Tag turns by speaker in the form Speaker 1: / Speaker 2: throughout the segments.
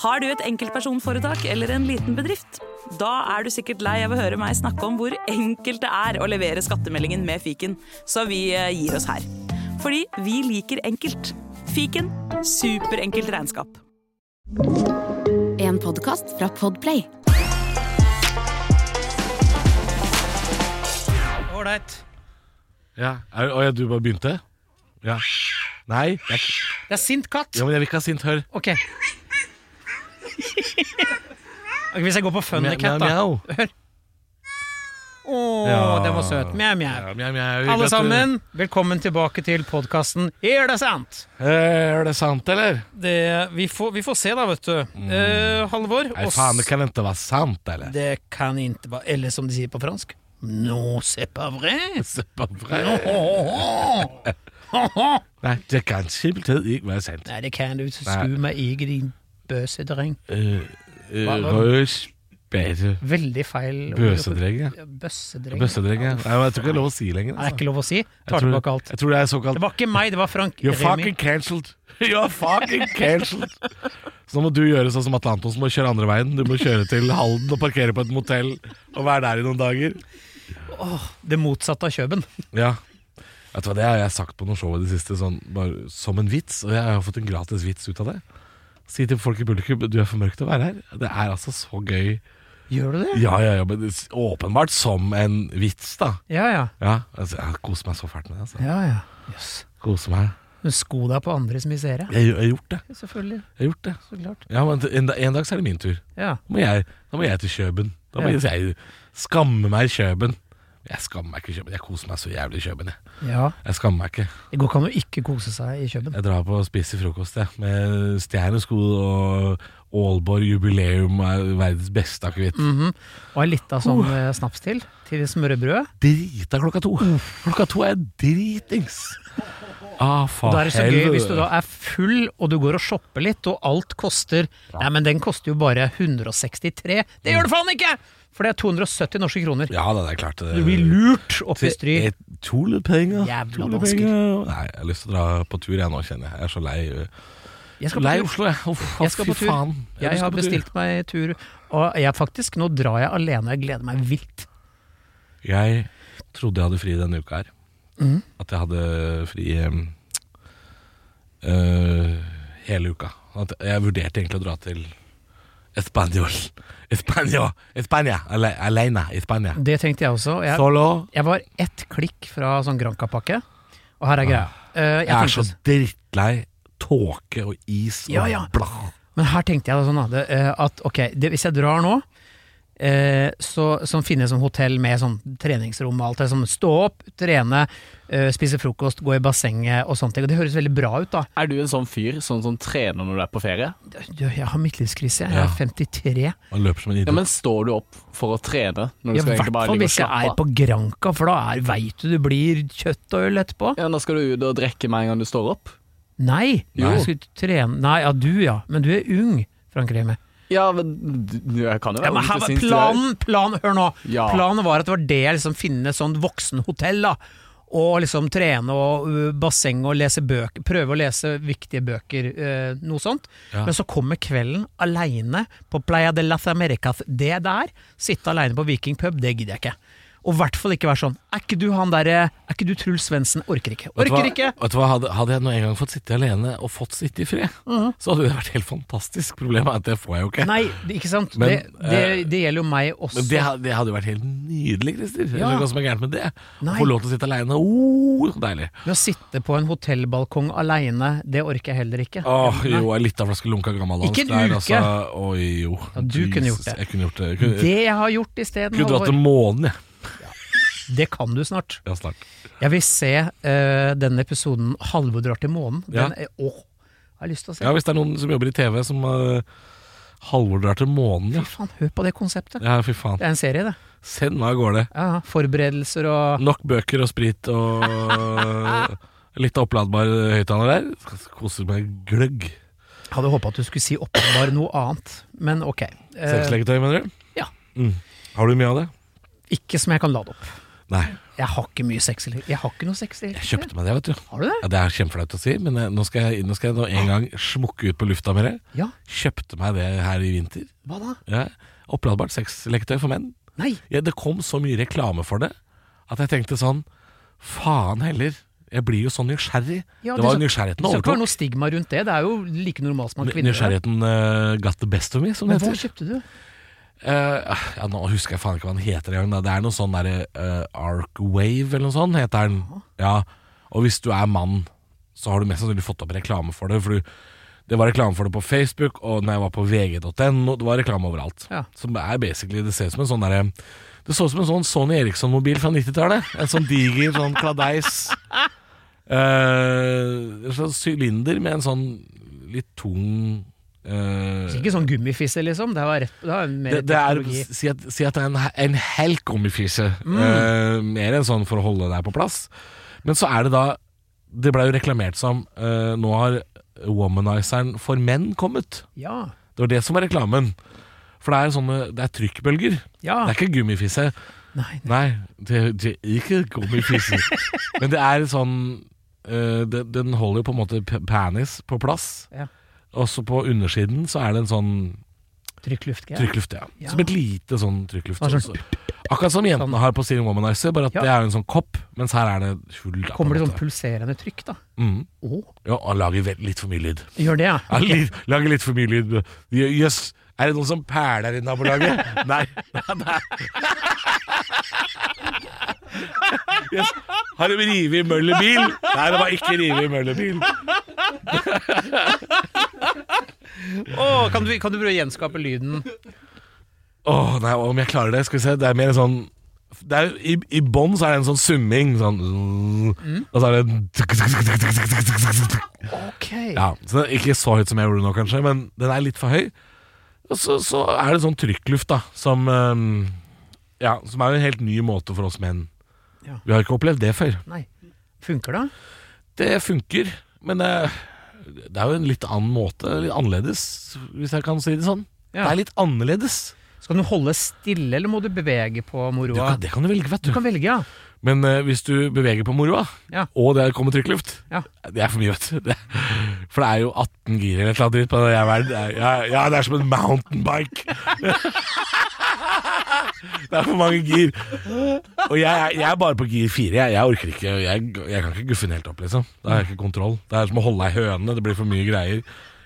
Speaker 1: Har du et enkeltpersonforetak eller en liten bedrift? Da er du sikkert lei av å høre meg snakke om hvor enkelt det er å levere skattemeldingen med fiken, så vi eh, gir oss her. Fordi vi liker enkelt. Fiken superenkelt regnskap.
Speaker 2: En podkast fra Podplay.
Speaker 3: Ålreit.
Speaker 4: Ja. Er, å, ja, du bare begynte? Ja. Nei, jeg, er ikke-
Speaker 3: Det er sint katt.
Speaker 4: ja, men jeg vil ikke ha sint hør.
Speaker 3: Ok. Ok, Hvis jeg går på Funnycat, da.
Speaker 4: Mjau,
Speaker 3: Å,
Speaker 4: Ja.
Speaker 3: den var søt. Mjau, mjau.
Speaker 4: mjau. Mjau, mjau.
Speaker 3: Alle
Speaker 4: Hyggelig at du-
Speaker 3: sammen, velkommen tilbake til podkasten Er det sant?
Speaker 4: Eh, Er det sant, eller?
Speaker 3: Det, vi, får, vi får se, da, vet du. Eh, Halvor
Speaker 4: Mm. Nei,
Speaker 3: oss-
Speaker 4: faen, det kan ikke være sant, eller?
Speaker 3: Det kan ikke være Eller som de sier på fransk No, c'est pas vrai!
Speaker 4: Se på
Speaker 3: Ho,
Speaker 4: meg.
Speaker 3: ho, ho. Ho, ho.
Speaker 4: Nei, det kan simpelthen ikke være sant.
Speaker 3: Nei, det kan du ikke.
Speaker 4: Nei.
Speaker 3: Sku meg ikke, din bøsedreng.
Speaker 4: Uh,
Speaker 3: Hva- hva-
Speaker 4: Rødspære
Speaker 3: Veldig feil. ord.
Speaker 4: Bøsedreng,
Speaker 3: Ja, Bøsedreng.
Speaker 4: Bøssedreng, ja. Nei, men Jeg tror ikke det er lov å si
Speaker 3: Nei,
Speaker 4: lenger.
Speaker 3: det er
Speaker 4: Altså.
Speaker 3: ikke lov å si.
Speaker 4: Jeg
Speaker 3: Tar
Speaker 4: tror-
Speaker 3: tilbake alt.
Speaker 4: Jeg tror det er såkalt
Speaker 3: Det var ikke meg, det var Frank
Speaker 4: You're
Speaker 3: Remi.
Speaker 4: fucking cancelled! You're fucking cancelled! Så nå må du gjøre sånn som Atle Antonsen må kjøre andre veien. Du må kjøre til Halden og parkere på et motell og være der i noen dager.
Speaker 3: Det motsatte av Kjøben.
Speaker 4: Ja Vet du hva, Det har jeg sagt på noen show i det siste, sånn, bare som en vits. Og jeg har jo fått en gratis vits ut av det. Si til folk i publikum du er for mørk til å være her. Det er altså så gøy.
Speaker 3: Gjør du det?
Speaker 4: Ja, ja, ja, men det er åpenbart som en vits, da.
Speaker 3: Ja, ja.
Speaker 4: Ja, altså, Jeg koser meg så fælt med det. altså
Speaker 3: Ja, ja. Jøss.
Speaker 4: Koser meg.
Speaker 3: Men Sko deg på andres misere.
Speaker 4: Jeg, jeg har gjort det.
Speaker 3: Ja, Selvfølgelig.
Speaker 4: Jeg har gjort det.
Speaker 3: Så klart.
Speaker 4: Ja, men en, da- en dag så er det min tur.
Speaker 3: Ja.
Speaker 4: Da må jeg, da må jeg til Kjøben. Da må
Speaker 3: Ja.
Speaker 4: jeg skamme meg i Kjøben. Jeg skammer meg ikke i Kjøben. Jeg koser meg så jævlig i Kjøben. Jeg,
Speaker 3: ja.
Speaker 4: jeg skammer meg ikke.
Speaker 3: Det går ikke an å ikke kose seg i Kjøben.
Speaker 4: Jeg drar på og spiser frokost jeg, med stjernesko og Aalborg jubileum er verdens beste akevitt.
Speaker 3: Mm. Og ei lita sånn eh, snaps til, til smørbrødet.
Speaker 4: Drita klokka to. Klokka to er jeg dritings. Ah, faen.
Speaker 3: Og da er det så gøy hvis du da er full, og du går og shopper litt, og alt koster Nei, men den koster jo bare 163. Det gjør det faen ikke! For det er 270 norske kroner.
Speaker 4: Ja, da, det er klart. det-
Speaker 3: Du blir lurt opp i
Speaker 4: Til-
Speaker 3: stry.
Speaker 4: et Tulepenger.
Speaker 3: Jævla
Speaker 4: Tulepenger. Nei, jeg har lyst til å dra på tur jeg nå, kjenner jeg. Jeg er så lei.
Speaker 3: Jeg skal på
Speaker 4: Lei
Speaker 3: tur.
Speaker 4: Oslo, jeg. Uff,
Speaker 3: Jeg skal
Speaker 4: fy
Speaker 3: på tur.
Speaker 4: faen.
Speaker 3: Jeg
Speaker 4: du skal
Speaker 3: har
Speaker 4: på tur.
Speaker 3: bestilt meg tur, og jeg faktisk, nå drar jeg alene, jeg gleder meg vilt.
Speaker 4: Jeg trodde jeg hadde fri denne uka her.
Speaker 3: Mm.
Speaker 4: At jeg hadde fri um, øh, hele uka. At jeg vurderte egentlig å dra til Español. Español. España. Ale alene i Spania.
Speaker 3: Det tenkte jeg også. og Jeg,
Speaker 4: Solo.
Speaker 3: jeg var ett klikk fra sånn Granca-pakke, og her er greia. Eh, jeg
Speaker 4: Ah. Jeg er
Speaker 3: tenkte-
Speaker 4: sånn. så drittlei tåke og is og
Speaker 3: Ja, ja.
Speaker 4: bla.
Speaker 3: Men her tenkte jeg da sånn da, det, eh, at ok, det, hvis jeg drar nå, eh, så, så finner jeg sånn hotell med sånn treningsrom og alt det, sånn stå opp, trene, eh, spise frokost, gå i bassenget og sånne ting. Og det høres veldig bra ut da.
Speaker 5: Er du en sånn fyr sånn som trener når du er på ferie?
Speaker 3: Du, Jeg har midtlivskrise, jeg
Speaker 4: Ja.
Speaker 3: er 53.
Speaker 4: Man løper som en
Speaker 5: Ja,
Speaker 4: idiot.
Speaker 5: men står du opp for å trene når du
Speaker 3: I
Speaker 5: skal
Speaker 3: hvert
Speaker 5: egentlig bare
Speaker 3: fall
Speaker 5: ligge og
Speaker 3: hvis jeg
Speaker 5: slappe
Speaker 3: er
Speaker 5: av?
Speaker 3: på Granca, for da er, vet du det blir kjøtt og øl etterpå.
Speaker 5: Ja, da skal du ut og drikke med en gang du står opp?
Speaker 3: Nei,
Speaker 4: Nei.
Speaker 3: jeg skulle trene. Nei, ja du ja, men du er ung, Frank Remi.
Speaker 5: Ja, men du- jeg kan jo
Speaker 3: Ja,
Speaker 5: være
Speaker 3: men
Speaker 5: ung
Speaker 3: her
Speaker 5: til
Speaker 3: var
Speaker 5: sinns, jeg.
Speaker 3: planen, planen, hør nå.
Speaker 5: Ja.
Speaker 3: Planen var at det var det jeg liksom finne sånn voksenhotell, da. Og liksom trene og ø, basseng og lese bøker, prøve å lese viktige bøker, ø, noe sånt.
Speaker 4: Ja.
Speaker 3: Men så kommer kvelden aleine på Playa de las Americas. Det der, sitte aleine på vikingpub, det gidder jeg ikke. Og i hvert fall ikke være sånn Er ikke du han derre Er ikke du Truls Svendsen? Orker ikke.
Speaker 4: Vet du
Speaker 3: Orker
Speaker 4: hva-
Speaker 3: ikke!
Speaker 4: Vet du hva, hadde, hadde jeg nå en gang fått sitte alene og fått sitte i fred,
Speaker 3: Mm.
Speaker 4: så hadde det vært helt fantastisk. Problemet er at det får jeg jo ikke.
Speaker 3: Nei, det- ikke sant.
Speaker 4: Men, eh,
Speaker 3: det, det, det gjelder jo meg også.
Speaker 4: Men det, ha- det hadde jo vært helt nydelig, Christer. Jeg
Speaker 3: Ja.
Speaker 4: skjønner ikke hva som er gærent med det. Å
Speaker 3: Nei.
Speaker 4: Få lov til å sitte aleine. Oh, så deilig.
Speaker 3: Med å sitte på en hotellbalkong aleine, det orker jeg heller ikke.
Speaker 4: Åh, Ah, jo, ei lita flaske lunka gammel
Speaker 3: Ikke en uke.
Speaker 4: Altså. Oi, jo.
Speaker 3: Ja, du kunne gjort det.
Speaker 4: Jeg kunne gjort det. Jeg kunne,
Speaker 3: Det jeg har gjort
Speaker 4: kunne dratt
Speaker 3: isteden,
Speaker 4: til månen, jeg.
Speaker 3: det kan du snart.
Speaker 4: Ja, snart.
Speaker 3: Jeg vil se eh, denne episoden 'Halvor drar til månen'. Den
Speaker 4: Ja.
Speaker 3: er, åh, jeg har lyst til å se.
Speaker 4: Ja, hvis det er noen som jobber i TV som eh, Halvor drar til månen, ja.
Speaker 3: Fy faen, hør på det konseptet.
Speaker 4: Ja, fy faen.
Speaker 3: Det er en serie, det.
Speaker 4: Send meg av gårde.
Speaker 3: Ja, ja. forberedelser og
Speaker 4: Nok bøker og sprit og eh, litt oppladbar høyttaler der. Skal Kose meg gløgg.
Speaker 3: Hadde håpa at du skulle si åpenbar noe annet, men ok. Eh,
Speaker 4: Sexleketøy, mener du?
Speaker 3: ja.
Speaker 4: Mm. Har du mye av det?
Speaker 3: ikke som jeg kan lade opp.
Speaker 4: Nei,
Speaker 3: Jeg har ikke mye sexliv. Jeg har ikke noe sexliv.
Speaker 4: jeg kjøpte meg det, vet du.
Speaker 3: Har du det?
Speaker 4: Ja, det er kjempeflaut å si, men eh, nå skal jeg nå, skal jeg nå en gang smukke ut på lufta med det.
Speaker 3: Ja.
Speaker 4: Kjøpte meg det her i vinter.
Speaker 3: Hva da?
Speaker 4: Ja. Oppladbart sexleketøy for menn.
Speaker 3: Nei.
Speaker 4: Ja, det kom så mye reklame for det at jeg tenkte sånn Faen heller. Jeg blir jo så nysgjerrig.
Speaker 3: Ja,
Speaker 4: det var
Speaker 3: skal-
Speaker 4: jo nysgjerrigheten
Speaker 3: Det skal ikke være
Speaker 4: overtok.
Speaker 3: noe stigma rundt det. Det er jo like normalt som at kvinner gjør det.
Speaker 4: Nysgjerrigheten eh, got the best of me, som
Speaker 3: Men
Speaker 4: det
Speaker 3: hva
Speaker 4: heter.
Speaker 3: kjøpte du?
Speaker 4: Eh, ja, nå husker jeg faen ikke hva den heter engang. da. Det er noe sånn derre eh, Arc Wave eller noe sånt heter den. Ja. Og hvis du er mann, så har du mest sannsynlig fått opp reklame for det. For du, det var reklame for det på Facebook, og når jeg var på vg.no, det var reklame overalt.
Speaker 3: Ja.
Speaker 4: Som er basically Det ser ut som en sånn derre Det så ut som en sånn Sony Eriksson-mobil fra 90-tallet. En sånn diger sånn kladeis. Eh, en slags sylinder med en sånn litt tung eh,
Speaker 3: Så Ikke sånn gummifisse, liksom. Det var, rett, det var mer
Speaker 4: det, det er,
Speaker 3: teknologi. Mm.
Speaker 4: si, at, si at det er en, en hel gummifise. Eh, mer enn sånn for å holde deg på plass. Men så er det da Det blei jo reklamert som eh, Nå har womanizeren for menn kommet.
Speaker 3: Ja.
Speaker 4: Det var det som var reklamen. For det er sånne Det er trykkbølger.
Speaker 3: ja.
Speaker 4: Det er ikke gummifisse.
Speaker 3: Nei.
Speaker 4: Nei, det, det er ikke gummifisse. Men det er sånn eh, det, Den holder jo på en måte p- penis på plass.
Speaker 3: Ja.
Speaker 4: Også på undersiden så er det en sånn
Speaker 3: Trykkluftgreier.
Speaker 4: Trykkluft, ja.
Speaker 3: Ja.
Speaker 4: Som et lite sånn trykkluft.
Speaker 3: Ah, sånn.
Speaker 4: Sånn. Akkurat som jentene har på Steering Womanizer, bare at
Speaker 3: Ja.
Speaker 4: det er jo en sånn kopp, mens her er det hull. Da,
Speaker 3: Kommer det
Speaker 4: på en
Speaker 3: sånn pulserende trykk, da?
Speaker 4: måte. mm.
Speaker 3: Å,
Speaker 4: Ja, og lager vel- litt for mye lyd.
Speaker 3: gjør det, ja.
Speaker 4: Ja, litt, lager litt for mye lyd. Jø- Jøss, er det noen som perler i nabolaget? Nei. Nei. Jøss, har de revet i møllebil? Nei, det var ikke revet i møllebil.
Speaker 3: Å, kan, du, kan du prøve å gjenskape lyden?
Speaker 4: Åh, nei, om jeg klarer det, skal vi se Det er mer sånn det er, I, i bånn så er det en sånn summing sånn,
Speaker 3: Mm.
Speaker 4: Og så er det
Speaker 3: Ok.
Speaker 4: Ja, så det er ikke så høyt som jeg gjorde nå kanskje Men den er litt for høy Og så, så er det sånn trykkluft da Som, ehm, ja, som er en helt ny måte for oss menn
Speaker 3: Ja.
Speaker 4: Vi har ikke opplevd det før
Speaker 3: Nei. Funker det?
Speaker 4: Det funker, men eh, det er jo en litt annen måte Litt annerledes, hvis jeg kan si det sånn
Speaker 3: Ja.
Speaker 4: Det er litt annerledes
Speaker 3: Skal du holde stille, eller må du bevege på
Speaker 4: du
Speaker 3: moroa?
Speaker 4: kan, Det kan du velge, vet
Speaker 3: Du kan velge, ja.
Speaker 4: Men eh, hvis du beveger på moroa,
Speaker 3: Ja.
Speaker 4: og det kommer trykkluft
Speaker 3: Ja.
Speaker 4: Det er for mye, vet du. Det, for det er jo 18 gir eller et eller annet dritt på den jævelen. Det er- Ja, ja, det er som en mountain bike. det er for mange gir. Og jeg, er- jeg er bare på gir fire. Jeg, jeg orker ikke. Jeg, jeg kan ikke guffe den helt opp, liksom. Da har jeg ikke kontroll. Det er som å holde ei høne. Det blir for mye greier.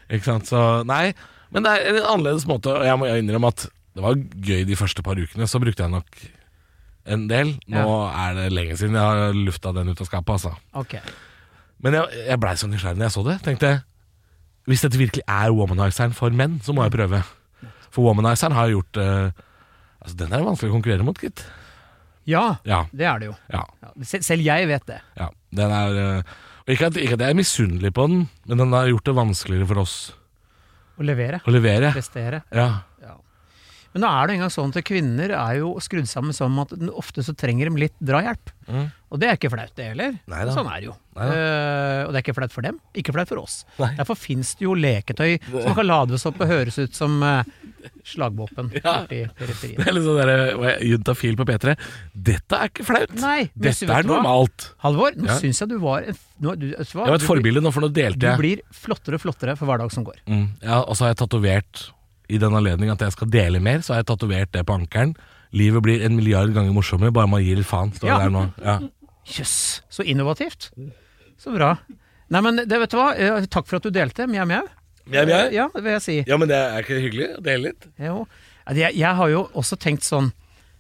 Speaker 4: Ikke sant? Så nei. Men det er en annerledes måte, og jeg må innrømme at det var gøy de første par ukene. Så brukte jeg nok en del. Nå er det lenge siden jeg har lufta den ut av skapet, altså.
Speaker 3: Ok.
Speaker 4: Men jeg, jeg blei så nysgjerrig når jeg så det. Tenkte jeg, Hvis dette virkelig er womanizeren for menn, så må jeg prøve. For womanizeren har gjort eh, Altså, Den er vanskelig å konkurrere mot, gitt.
Speaker 3: Ja,
Speaker 4: Ja.
Speaker 3: det er det jo.
Speaker 4: ja,
Speaker 3: Ja, se- Selv jeg vet det.
Speaker 4: ja Den er eh, og ikke at, ikke at jeg er misunnelig på den, men den har gjort det vanskeligere for oss
Speaker 3: Å levere.
Speaker 4: å levere.
Speaker 3: Prestere.
Speaker 4: Ja,
Speaker 3: Men nå er det engang sånn at kvinner er jo skrudd sammen som at den- ofte så trenger de litt drahjelp.
Speaker 4: Mm.
Speaker 3: Og det er ikke flaut, det heller.
Speaker 4: Neida.
Speaker 3: Sånn er det jo.
Speaker 4: Neida.
Speaker 3: Eh, og det er ikke flaut for dem, ikke flaut for oss.
Speaker 4: Nei.
Speaker 3: Derfor fins det jo leketøy som kan lades opp og høres ut som eh, slagvåpen borti periferien.
Speaker 4: Det er litt sånn derre juntafil på P3. Dette er ikke flaut!
Speaker 3: Nei, men
Speaker 4: Dette
Speaker 3: vet
Speaker 4: er
Speaker 3: du hva?
Speaker 4: normalt.
Speaker 3: Halvor, nå
Speaker 4: Ja.
Speaker 3: syns jeg du var en, f- nå, du, vet du hva?
Speaker 4: Jeg var et
Speaker 3: Du blir-
Speaker 4: forbilde nå, for nå
Speaker 3: Du
Speaker 4: delte jeg.
Speaker 3: blir flottere og flottere for hver dag som går.
Speaker 4: Mm. Ja, og så har jeg tatovert i den anledning at jeg skal dele mer, så har jeg tatovert det på ankelen. Livet blir en milliard ganger morsommere, bare man gir litt faen. Står
Speaker 3: Ja.
Speaker 4: det der nå. Ja.
Speaker 3: Jøss, så innovativt. Så bra. Nei, men det vet du hva, Eh, takk for at du delte, mjau mjau. Eh, Ja, det vil jeg si.
Speaker 4: men det er ikke hyggelig å dele litt?
Speaker 3: Jo. Nei, Jeg, jeg har jo også tenkt sånn,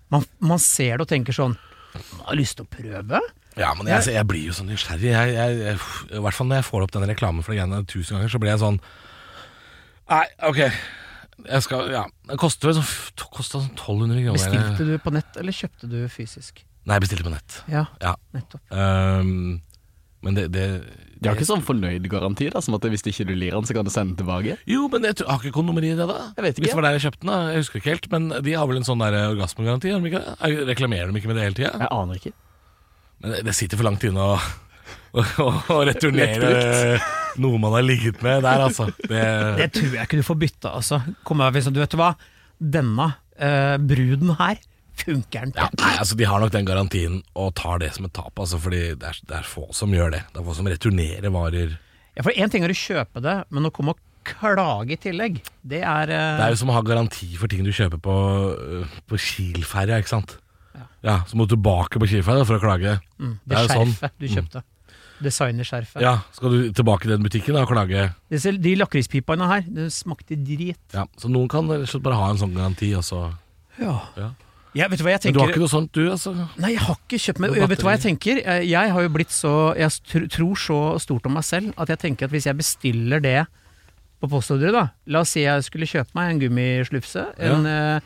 Speaker 3: man, man ser det og tenker sånn, man har lyst til å prøve.
Speaker 4: Ja, men jeg, altså, jeg blir jo så nysgjerrig. Jeg, jeg, jeg, I hvert fall når jeg får opp den reklamen for de greiene tusen ganger, så blir jeg sånn Nei, ok. Jeg skal, ja. Det koster vel sånn kosta sånn 1200 kroner.
Speaker 3: Bestilte du på nett, eller kjøpte du fysisk?
Speaker 4: Nei, jeg bestilte på nett.
Speaker 3: Ja,
Speaker 4: Ja.
Speaker 3: nettopp.
Speaker 4: Ehm, men det, det
Speaker 5: De har ikke sånn fornøyd-garanti, da, som at hvis ikke du lir den, så kan du sende den tilbake?
Speaker 4: Jo, men jeg tror, har ikke kondomeri det, da?
Speaker 5: Jeg vet ikke.
Speaker 4: Hvis det var der jeg kjøpte den, da. Jeg husker ikke helt. Men de har vel en sånn der orgasmegaranti? Har de ikke det? Er- Reklamerer de ikke med det hele tida?
Speaker 5: Jeg aner ikke.
Speaker 4: Men det, det sitter for langt inne å å- å returnere eh, noe man har ligget med der, altså. Det,
Speaker 3: Det tror jeg ikke du får bytte, altså. Kom her, liksom, du vet hva, denne eh, bruden her, funker den.
Speaker 4: Ja, nei, altså De har nok den garantien og tar det som et tap, altså, fordi det er, det er få som gjør det. Det er få som returnerer varer.
Speaker 3: Ja, for én ting er å kjøpe det, men å komme og klage i tillegg, det er, eh,
Speaker 4: Det er jo som å ha garanti for ting du kjøper på, øh, på Kiel-ferja, ikke sant. Ja. Så må du tilbake på Kiel-ferja for å klage.
Speaker 3: mm,
Speaker 4: det
Speaker 3: det
Speaker 4: er jo sånn.
Speaker 3: skjerfet du kjøpte. Designerskjerfet.
Speaker 4: Ja, Skal du tilbake i den butikken da, og klage.
Speaker 3: Disse, de lakrispipene her, det smakte drit.
Speaker 4: Ja, Så noen kan rett og slett bare ha en sånn garanti. Og så.
Speaker 3: Ja.
Speaker 4: Ja.
Speaker 3: Jeg vet du hva jeg
Speaker 4: Men du
Speaker 3: tenker
Speaker 4: har ikke noe sånt, du? altså
Speaker 3: Nei, jeg har ikke kjøpt meg
Speaker 4: Noe
Speaker 3: Vet du hva jeg
Speaker 4: batteri?
Speaker 3: tenker? Jeg- Jeg har jo blitt så Jeg tr- tror så stort om meg selv at jeg tenker at hvis jeg bestiller det på postordre, da La oss si jeg skulle kjøpe meg en gummislufse, en, eh,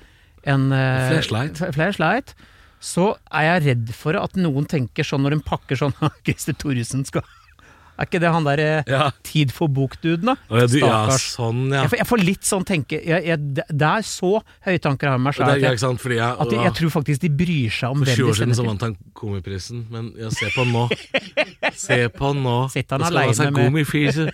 Speaker 3: en eh,
Speaker 4: Flashlight.
Speaker 3: f- flashlight så er jeg redd for at noen tenker sånn når de pakker sånn Christer Thoresen skal Er ikke det han der eh,
Speaker 4: Ja.
Speaker 3: Tid for bok-duden, da?
Speaker 4: Å, ja, du, ja
Speaker 3: Stakkars.
Speaker 4: sånn, ja.
Speaker 3: Jeg, får, jeg får litt sånn tenke jeg, jeg, Det det er så høye tanker jeg har om meg
Speaker 4: Det er,
Speaker 3: selv
Speaker 4: ja,
Speaker 3: at,
Speaker 4: ikke sant, fordi jeg,
Speaker 3: jeg- at jeg, jeg tror faktisk de bryr seg om
Speaker 4: For
Speaker 3: hvem
Speaker 4: 20
Speaker 3: de
Speaker 4: år siden
Speaker 3: sender
Speaker 4: så
Speaker 3: til.
Speaker 4: vant han Komiprisen, men ja, se på han nå. Se på han nå.
Speaker 3: Sitter han
Speaker 4: Nå skal sånn
Speaker 3: alene
Speaker 4: ha seg
Speaker 3: med-
Speaker 4: gomifise.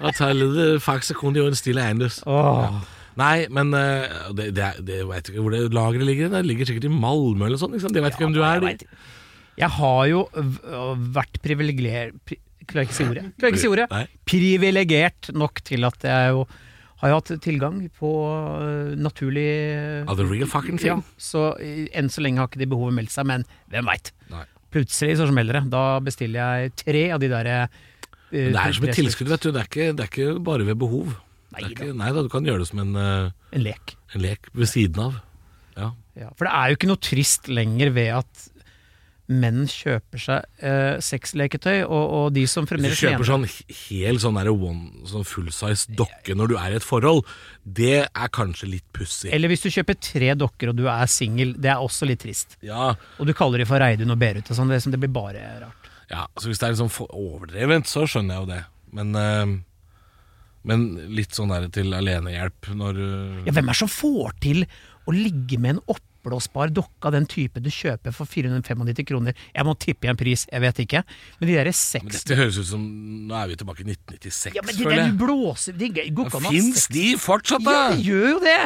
Speaker 4: Og ta litt faks og kundi og en stille eiendus.
Speaker 3: Åh.
Speaker 4: Nei, men eh, det, det, er- det vet jeg ikke hvor det lageret ligger. Det ligger sikkert i Malmö eller noe sånt. ikke sant? De vet ikke hvem du er.
Speaker 3: Jeg, vet. jeg har jo v- øh, vært privilegert pri, Klarer ikke å si ordet. Klarer ikke å si ordet.
Speaker 4: Nei.
Speaker 3: Privilegert nok til at jeg jo har jo hatt tilgang på øh, naturlig
Speaker 4: Are the real fucking
Speaker 3: ja,
Speaker 4: thing.
Speaker 3: Så øh, enn så lenge har ikke de behovet meldt seg, men hvem veit.
Speaker 4: Nei.
Speaker 3: Plutselig så smeller det. Da bestiller jeg tre av de øh, derre
Speaker 4: Men Det er som et tilskudd, vet du. Det er ikke, det er ikke bare ved behov. Det er ikke, nei da, du kan gjøre det som en, eh,
Speaker 3: En lek.
Speaker 4: en lek ved siden av. Ja.
Speaker 3: Ja, for det er jo ikke noe trist lenger ved at menn kjøper seg eh, sexleketøy, og, og de som
Speaker 4: Hvis
Speaker 3: fremdeles
Speaker 4: du kjøper sånn he- hel sånn der one, sånn full-size dokke når du er i et forhold, det er kanskje litt pussig.
Speaker 3: Eller hvis du kjøper tre dokker og du er singel, det er også litt trist.
Speaker 4: Ja,
Speaker 3: Og du kaller de for Reidun og Berut og sånn, det, er som- det blir bare rart.
Speaker 4: ja, så hvis det er liksom for overdrevent, så skjønner jeg jo det. Men, eh, men litt sånn der til alenehjelp når eh,
Speaker 3: Ja, hvem er det som får til å ligge med en oppblåsbar dokke av den type du kjøper for 495 kroner? Jeg må tippe i en pris, jeg vet ikke. Men de derre
Speaker 4: men
Speaker 3: seks
Speaker 4: Dette høres ut som Nå er vi tilbake i 1996,
Speaker 3: Ja, men de
Speaker 4: føler
Speaker 3: der
Speaker 4: jeg.
Speaker 3: blåser De går ikke an å ha
Speaker 4: Fins
Speaker 3: sex.
Speaker 4: de fortsatt,
Speaker 3: Ja,
Speaker 4: da?
Speaker 3: det gjør jo det!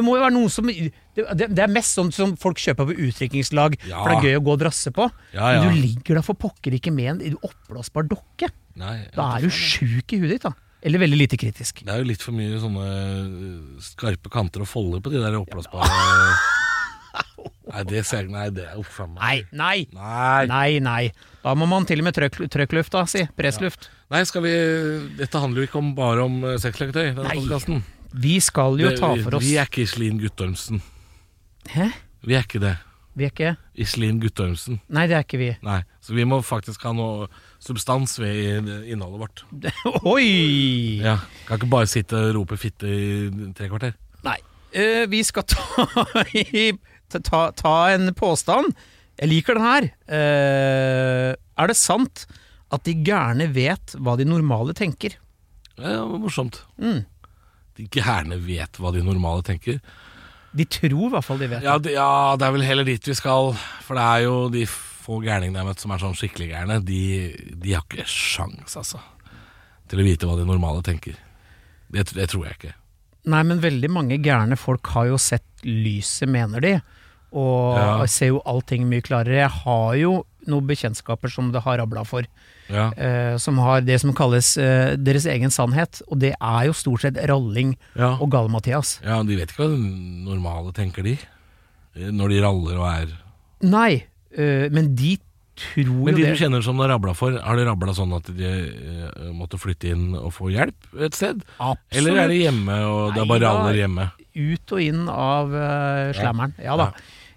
Speaker 3: Det må jo være noe som Det, det, det er mest sånn som folk kjøper på utdrikningslag,
Speaker 4: Ja.
Speaker 3: for det er gøy å gå og drasse på.
Speaker 4: Ja, ja.
Speaker 3: Men du ligger da for pokker ikke med en oppblåsbar dokke.
Speaker 4: Nei,
Speaker 3: Da er du sjuk i huet ditt, da. Eller veldig lite kritisk.
Speaker 4: det er jo litt for mye sånne eh, skarpe kanter og folder på de der oppblåsbare Nei, det ser jeg Nei, det er uff a
Speaker 3: Nei,
Speaker 4: meg.
Speaker 3: nei,
Speaker 4: Nei.
Speaker 3: nei, nei. Da må man til og med trøkk- trøkkluft, da, si. Pressluft.
Speaker 4: Nei, skal vi Dette handler jo ikke om, bare om eh, sexleketøy. denne
Speaker 3: Nei.
Speaker 4: podcasten.
Speaker 3: Vi skal jo
Speaker 4: Det-
Speaker 3: ta for oss
Speaker 4: Vi er ikke Iselin Guttormsen.
Speaker 3: Hæ?
Speaker 4: Vi er ikke det.
Speaker 3: Vi er ikke
Speaker 4: Iselin Guttormsen.
Speaker 3: Nei, det er ikke vi.
Speaker 4: Nei. Så vi må faktisk ha noe substans ved i- innholdet vårt.
Speaker 3: Oi!
Speaker 4: Ja. Kan ikke bare sitte og rope fitte i tre kvarter.
Speaker 3: Nei. Eh, vi skal ta, i- ta- ta, ta en påstand. Jeg liker den her. Eh, er det sant at de gærne vet hva de normale tenker?
Speaker 4: Ja, det var morsomt.
Speaker 3: Mm.
Speaker 4: De gærne vet hva de normale tenker.
Speaker 3: De tror i hvert fall de vet.
Speaker 4: Ja det, ja, det er vel heller dit vi skal. For det er jo de få gærningene jeg har møtt som er sånn skikkelig gærne. De, de har ikke sjans, altså, til å vite hva de normale tenker. Det, det tror jeg ikke.
Speaker 3: Nei, men veldig mange gærne folk har jo sett lyset, mener de. Og
Speaker 4: Ja.
Speaker 3: ser jo allting mye klarere. Jeg har jo noen bekjentskaper som det har rabla for.
Speaker 4: Ja.
Speaker 3: eh, som har det som kalles eh, deres egen sannhet. Og det er jo stort sett ralling
Speaker 4: Ja.
Speaker 3: og gale-Mathias.
Speaker 4: ja, de vet ikke hva de normale tenker, de. eh, Når de raller og er
Speaker 3: Nei, øh, men de tror
Speaker 4: Men
Speaker 3: jo
Speaker 4: de du
Speaker 3: det.
Speaker 4: kjenner som det har rabla for, har de rabla sånn at de eh, måtte flytte inn og få hjelp et sted?
Speaker 3: Absolutt.
Speaker 4: Eller er de hjemme, og det er
Speaker 3: Nei,
Speaker 4: bare
Speaker 3: da-
Speaker 4: raller hjemme?
Speaker 3: Ut og inn av uh, slammeren. Ja da.
Speaker 4: Ja.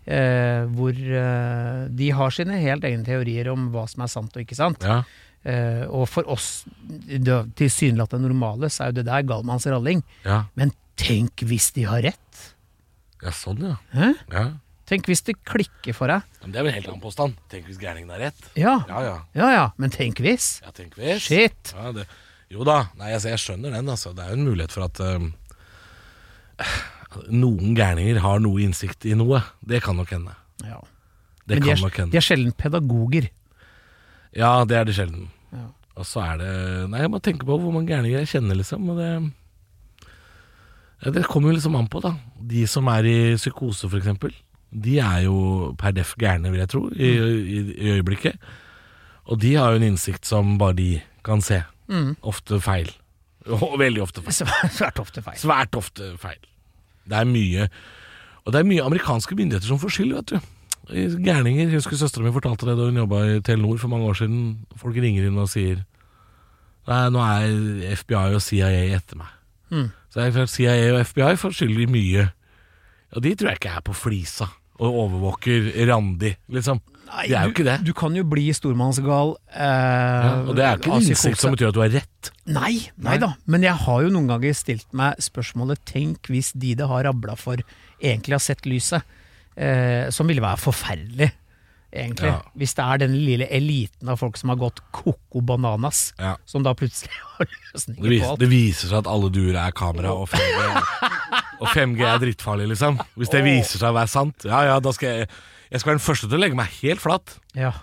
Speaker 3: Eh, hvor eh, de har sine helt egne teorier om hva som er sant og ikke sant.
Speaker 4: Ja.
Speaker 3: Eh, og for oss det- tilsynelatende normale, så er jo det der galmanns ralling.
Speaker 4: Ja,
Speaker 3: Men tenk hvis de har rett?
Speaker 4: ja sånn, ja.
Speaker 3: Hæ?
Speaker 4: ja.
Speaker 3: Tenk hvis det klikker for deg?
Speaker 4: Men det er vel en helt annen påstand. Tenk hvis gærningen har rett.
Speaker 3: Ja.
Speaker 4: Ja, ja.
Speaker 3: ja ja, men tenk hvis?
Speaker 4: Ja, tenk hvis.
Speaker 3: Shit.
Speaker 4: Ja, det, jo da, Nei, altså, jeg skjønner den. Altså. Det er jo en mulighet for at eh, noen gærninger har noe innsikt i noe. Det kan nok hende.
Speaker 3: Ja.
Speaker 4: Det
Speaker 3: men de
Speaker 4: kan
Speaker 3: er,
Speaker 4: nok hende.
Speaker 3: de er sjelden pedagoger.
Speaker 4: Ja, det er det sjelden.
Speaker 3: Ja.
Speaker 4: Og så er det Nei, jeg må tenke på hvor mange gærninger jeg kjenner, liksom. Og det, ja, det kommer jo liksom an på, da. De som er i psykose, for eksempel. de er jo per def gærne, vil jeg tro, i, i, i øyeblikket. Og de har jo en innsikt som bare de kan se. Ofte feil. Og Veldig ofte feil.
Speaker 3: Svært svært ofte feil.
Speaker 4: Svært ofte feil. Det er mye Og det er mye amerikanske myndigheter som får skyld, vet du. I Gærninger. Jeg husker søstera mi fortalte det da hun jobba i Telenor for mange år siden. Folk ringer inn og sier Nei, nå er FBI og CIA etter meg.
Speaker 3: Hmm.
Speaker 4: Så det er klart CIA og FBI får skyld i mye. Og de tror jeg ikke er på flisa og overvåker Randi, liksom.
Speaker 3: Nei,
Speaker 4: det er jo
Speaker 3: du-
Speaker 4: ikke det.
Speaker 3: Du kan jo bli stormannsgal. Eh,
Speaker 4: Ja, og det er ikke
Speaker 3: av
Speaker 4: en innsikt
Speaker 3: psykose.
Speaker 4: som betyr at du har rett.
Speaker 3: Nei, nei da. Men jeg har jo noen ganger stilt meg spørsmålet Tenk hvis de det har rabla for, egentlig har sett lyset. Eh, som ville være forferdelig, egentlig.
Speaker 4: Ja.
Speaker 3: Hvis det er den lille eliten av folk som har gått coco bananas,
Speaker 4: Ja.
Speaker 3: som da plutselig har
Speaker 4: Det,
Speaker 3: løsninger
Speaker 4: vis,
Speaker 3: på alt.
Speaker 4: det viser seg at alle duer er kamera, og 5G, er- og 5G er drittfarlig, liksom. Hvis det viser seg å være sant. Ja ja, da skal jeg Jeg skal være den første til å legge meg helt flat.
Speaker 3: Ja.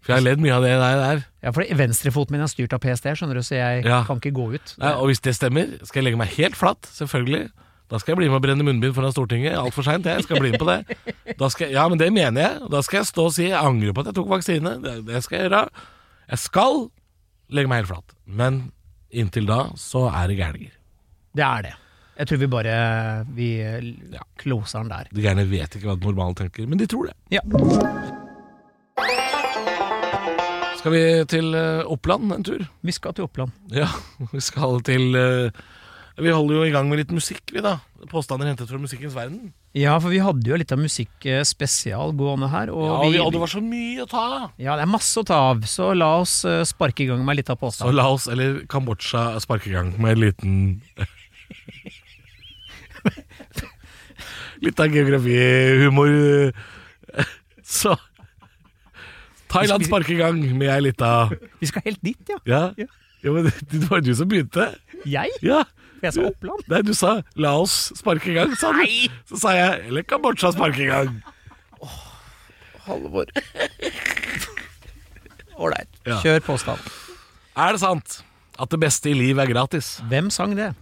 Speaker 4: For jeg har ledd mye av det der. der.
Speaker 3: ja, for venstrefoten min er styrt av PST, skjønner du, så jeg
Speaker 4: Ja.
Speaker 3: kan ikke gå ut.
Speaker 4: Nei, og hvis det stemmer, skal jeg legge meg helt flatt, selvfølgelig. Da skal jeg bli med og brenne munnbind foran Stortinget. Altfor seint, jeg skal bli med på det. Da skal, jeg- ja, men det mener jeg. Og Da skal jeg stå og si jeg angrer på at jeg tok vaksine. Det, det skal jeg gjøre. Jeg skal legge meg helt flatt. Men inntil da så er det gærninger.
Speaker 3: Det er det. Jeg tror vi bare Vi kloser den der.
Speaker 4: De gærne vet ikke hva den normale tenker, men de tror det.
Speaker 3: Ja.
Speaker 4: Skal vi til eh, Oppland en tur?
Speaker 3: Vi skal til Oppland.
Speaker 4: Ja, vi skal til eh, Vi holder jo i gang med litt musikk, vi, da. Påstander hentet fra musikkens verden.
Speaker 3: Ja, for vi hadde jo litt av musikkspesial gående her. Og
Speaker 4: Ja,
Speaker 3: vi,
Speaker 4: og det var så mye å ta av.
Speaker 3: Ja, det er masse å ta av, så la oss eh, sparke i gang med litt av
Speaker 4: Så
Speaker 3: påstand.
Speaker 4: la oss, eller Kambodsja, sparke i gang med en liten Litt av geografihumor. Så Thailand sparker i gang med ei lita
Speaker 3: Vi skal helt dit, ja.
Speaker 4: ja. ja, men det var jo du som begynte.
Speaker 3: Jeg?
Speaker 4: Ja.
Speaker 3: Jeg sa Oppland.
Speaker 4: Nei, du sa 'la oss sparke i gang', sa du. Så sa jeg 'eller Kambodsja sparke i gang'.
Speaker 3: Halvor. Ålreit.
Speaker 4: Ja.
Speaker 3: Kjør påstand.
Speaker 4: Er det sant at det beste i liv er gratis?
Speaker 3: Hvem sang det?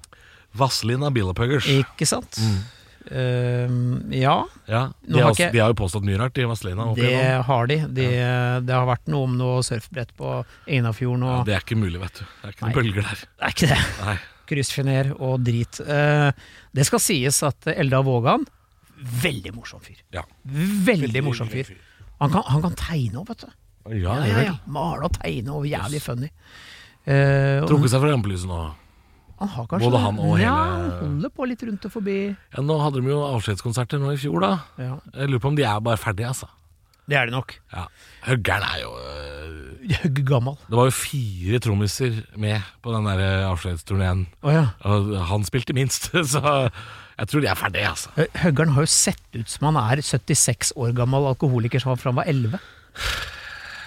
Speaker 4: Vazelina Billapuggers.
Speaker 3: Ikke sant? Ehm, ja,
Speaker 4: Ja,
Speaker 3: Nå
Speaker 4: de
Speaker 3: har
Speaker 4: har,
Speaker 3: ikke-
Speaker 4: også, de har jo påstått mye rart, de Vazelina. opp
Speaker 3: det
Speaker 4: igjennom.
Speaker 3: har de. Det, det har vært noe om noe surfbrett på Einafjorden og
Speaker 4: Ja, det er ikke mulig, vet du. Det er ikke noen
Speaker 3: Nei.
Speaker 4: bølger der.
Speaker 3: Det er ikke det.
Speaker 4: Nei.
Speaker 3: Kryssfiner og drit. Eh, det skal sies at Elda Vågan, veldig morsom fyr.
Speaker 4: Ja.
Speaker 3: Veldig morsom fyr. Han kan, han kan tegne òg, vet du.
Speaker 4: Ja,
Speaker 3: Ja,
Speaker 4: det
Speaker 3: ja,
Speaker 4: er
Speaker 3: ja.
Speaker 4: vel.
Speaker 3: Male og tegne og jævlig funny. Eh, og
Speaker 4: Trukket seg fra rampelyset nå.
Speaker 3: han har kanskje
Speaker 4: både han og
Speaker 3: ja,
Speaker 4: hele-
Speaker 3: han holder på litt rundt og forbi.
Speaker 4: Ja, nå hadde de jo avskjedskonserter nå i fjor, da.
Speaker 3: Ja,
Speaker 4: Jeg lurer på om de er bare ferdige, altså.
Speaker 3: Det er det nok.
Speaker 4: Ja. Høggeren er jo øh,
Speaker 3: Høgg Gammal.
Speaker 4: Det var jo fire trommiser med på den der øh, avskjedsturneen.
Speaker 3: Å ja.
Speaker 4: Og han spilte minst, så jeg tror de er ferdige, altså.
Speaker 3: Hø- Eh, Høggeren har jo sett ut som han er 76 år gammel alkoholiker som han fra han var 11.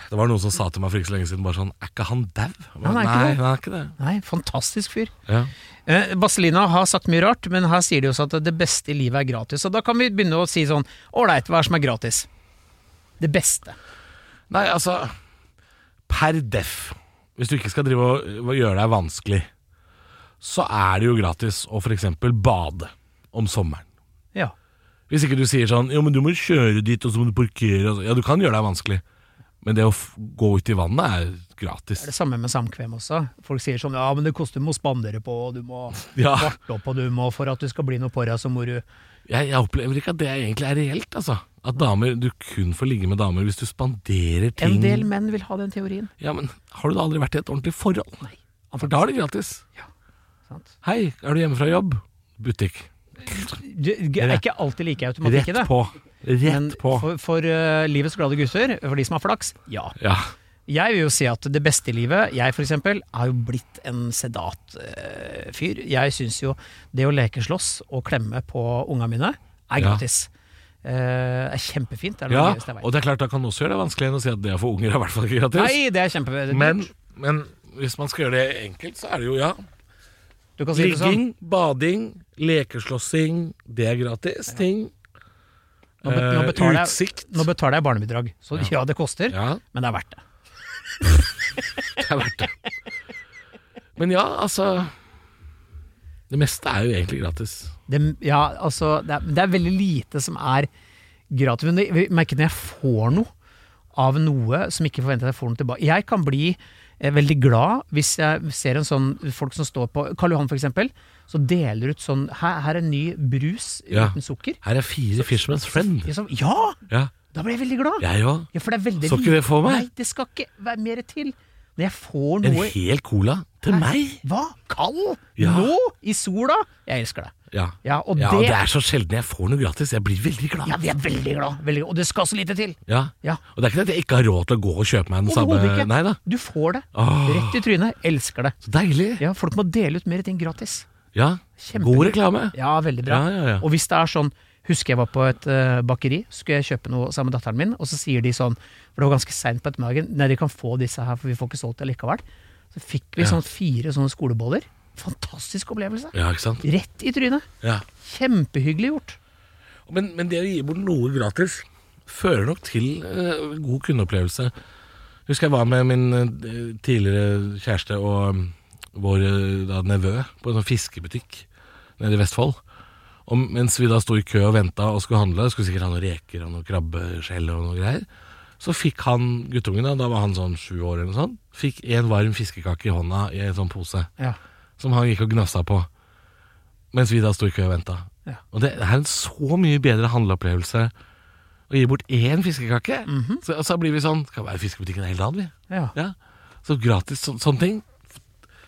Speaker 4: Det var noen som sa til meg for ikke så lenge siden bare sånn Er ikke han dau? Jeg bare,
Speaker 3: Han er ikke
Speaker 4: Nei,
Speaker 3: det.
Speaker 4: han er ikke det.
Speaker 3: Nei, fantastisk fyr.
Speaker 4: Ja.
Speaker 3: Eh, Vazelina har sagt mye rart, men her sier de også at det beste i livet er gratis. Og da kan vi begynne å si sånn ålreit, hva er det som er gratis? Det beste.
Speaker 4: Nei, altså Per def Hvis du ikke skal drive og og gjøre deg vanskelig Så er det jo gratis Å for eksempel bade Om sommeren
Speaker 3: Ja.
Speaker 4: Hvis ikke du sier sånn Jo, men du må kjøre dit Og så må du parkere og så. Ja, du kan gjøre deg vanskelig Men det å f- gå ut i vannet er gratis
Speaker 3: Det er det samme med samkvem også. Folk sier sånn ja, men det koster, du må spandere på, og du må
Speaker 4: Ja.
Speaker 3: varte opp, og du må for at du skal bli noe på deg, så må du
Speaker 4: jeg, jeg opplever ikke at det egentlig er reelt altså. At damer, du kun får ligge med damer Hvis du spanderer ting
Speaker 3: En del menn vil ha den teorien.
Speaker 4: Ja, men har du da aldri vært i et ordentlig forhold? Nei For da er det gratis
Speaker 3: Sant?
Speaker 4: Hei, er du hjemme fra jobb? Butikk
Speaker 3: Det er ikke alltid like automatikk i det.
Speaker 4: Rett på.
Speaker 3: Men
Speaker 4: Rett på.
Speaker 3: for, for eh, livets glade gutter, for de som har flaks, ja.
Speaker 4: Ja.
Speaker 3: Jeg vil jo si at det beste i livet, jeg for eksempel, er jo blitt en sedat eh, fyr. Jeg syns jo det å leke slåss og klemme på unga mine er
Speaker 4: Ja.
Speaker 3: gratis. Eh, er kjempefint. Det er det
Speaker 4: ja.
Speaker 3: gøyeste jeg vet.
Speaker 4: Og det er klart, da kan det også gjøre det vanskelig enn å si at det å få unger er i hvert fall ikke gratis.
Speaker 3: Nei, det er kjempe...
Speaker 4: Men, men hvis man skal gjøre det enkelt, så er det jo ja.
Speaker 3: du kan si det sånn.
Speaker 4: Ligging, bading, lekeslåssing, det er gratis. Ting.
Speaker 3: Nå, be, nå,
Speaker 4: Eh,
Speaker 3: betaler jeg,
Speaker 4: utsikt.
Speaker 3: nå betaler jeg barnebidrag, så ja, det koster,
Speaker 4: Ja,
Speaker 3: men det er verdt det.
Speaker 4: det er verdt det. Men ja, altså Det meste er jo egentlig gratis.
Speaker 3: det ja, altså, det, er, det er veldig lite som er gratis. Men det- jeg merker når jeg får noe av noe som ikke forventer at jeg får noe tilbake. Jeg kan bli eh, veldig glad hvis jeg ser en sånn folk som står på Karl Johan for eksempel, så deler ut sånn Her, her er en ny brus
Speaker 4: Ja.
Speaker 3: uten sukker.
Speaker 4: Her er fire Fishman's Friend.
Speaker 3: Jeg sa, ja!
Speaker 4: Ja,
Speaker 3: Da ble jeg veldig glad.
Speaker 4: jeg òg.
Speaker 3: Ja, for det er veldig
Speaker 4: Så ikke det for meg?
Speaker 3: Nei, det skal ikke være mer til. Når jeg får
Speaker 4: En
Speaker 3: noe
Speaker 4: hel cola til meg.
Speaker 3: Hva? Kald?
Speaker 4: Ja.
Speaker 3: Nå? I sola? Jeg elsker det.
Speaker 4: Ja.
Speaker 3: Ja, og
Speaker 4: Ja, og
Speaker 3: det-
Speaker 4: det er så sjelden jeg får noe gratis. Jeg blir veldig glad.
Speaker 3: Ja, vi er veldig glad. Veldig glad. Og det skal så lite til.
Speaker 4: Ja.
Speaker 3: Ja.
Speaker 4: Og det er ikke det at jeg ikke har råd til å gå og kjøpe meg den samme
Speaker 3: Overhodet ikke.
Speaker 4: Nei da.
Speaker 3: Du får det.
Speaker 4: Åh.
Speaker 3: Rett i trynet. Elsker det.
Speaker 4: Så deilig. Ja.
Speaker 3: Ja, folk må dele ut mer ting gratis. Kjempe-
Speaker 4: God reklame.
Speaker 3: Ja, veldig bra.
Speaker 4: Ja, ja, ja.
Speaker 3: Og hvis det er sånn Husker jeg var på et eh, bakeri, skulle jeg kjøpe noe sammen med datteren min, og så sier de sånn For det var ganske seint på ettermiddagen. Nei, de kan få disse her, for vi får ikke solgt det likevel. Så fikk vi sånn fire sånne skoleboller. Fantastisk opplevelse.
Speaker 4: Ja, ikke sant.
Speaker 3: Rett i trynet.
Speaker 4: Ja.
Speaker 3: Kjempehyggelig gjort.
Speaker 4: Men, men det å gi bort noe gratis fører nok til eh, god kundeopplevelse. Husker jeg var med min eh, tidligere kjæreste og mm, vår eh, da, nevø på en sånn fiskebutikk nede i Vestfold. Og mens vi da sto i kø og venta og skulle handle, skulle sikkert ha noen reker og noen krabbeskjell og noe greier, så fikk han guttungen, da, da var han sånn sju år eller noe sånt, fikk en varm fiskekake i hånda i en sånn pose
Speaker 3: Ja.
Speaker 4: som han gikk og gnassa på. Mens vi da sto i kø og venta.
Speaker 3: Ja.
Speaker 4: Og det er en så mye bedre handleopplevelse å gi bort én fiskekake. så, og så blir vi sånn Skal være i fiskebutikken hele dagen, vi.
Speaker 3: Mhm. ja.
Speaker 4: Ja. Så gratis så, sånne ting.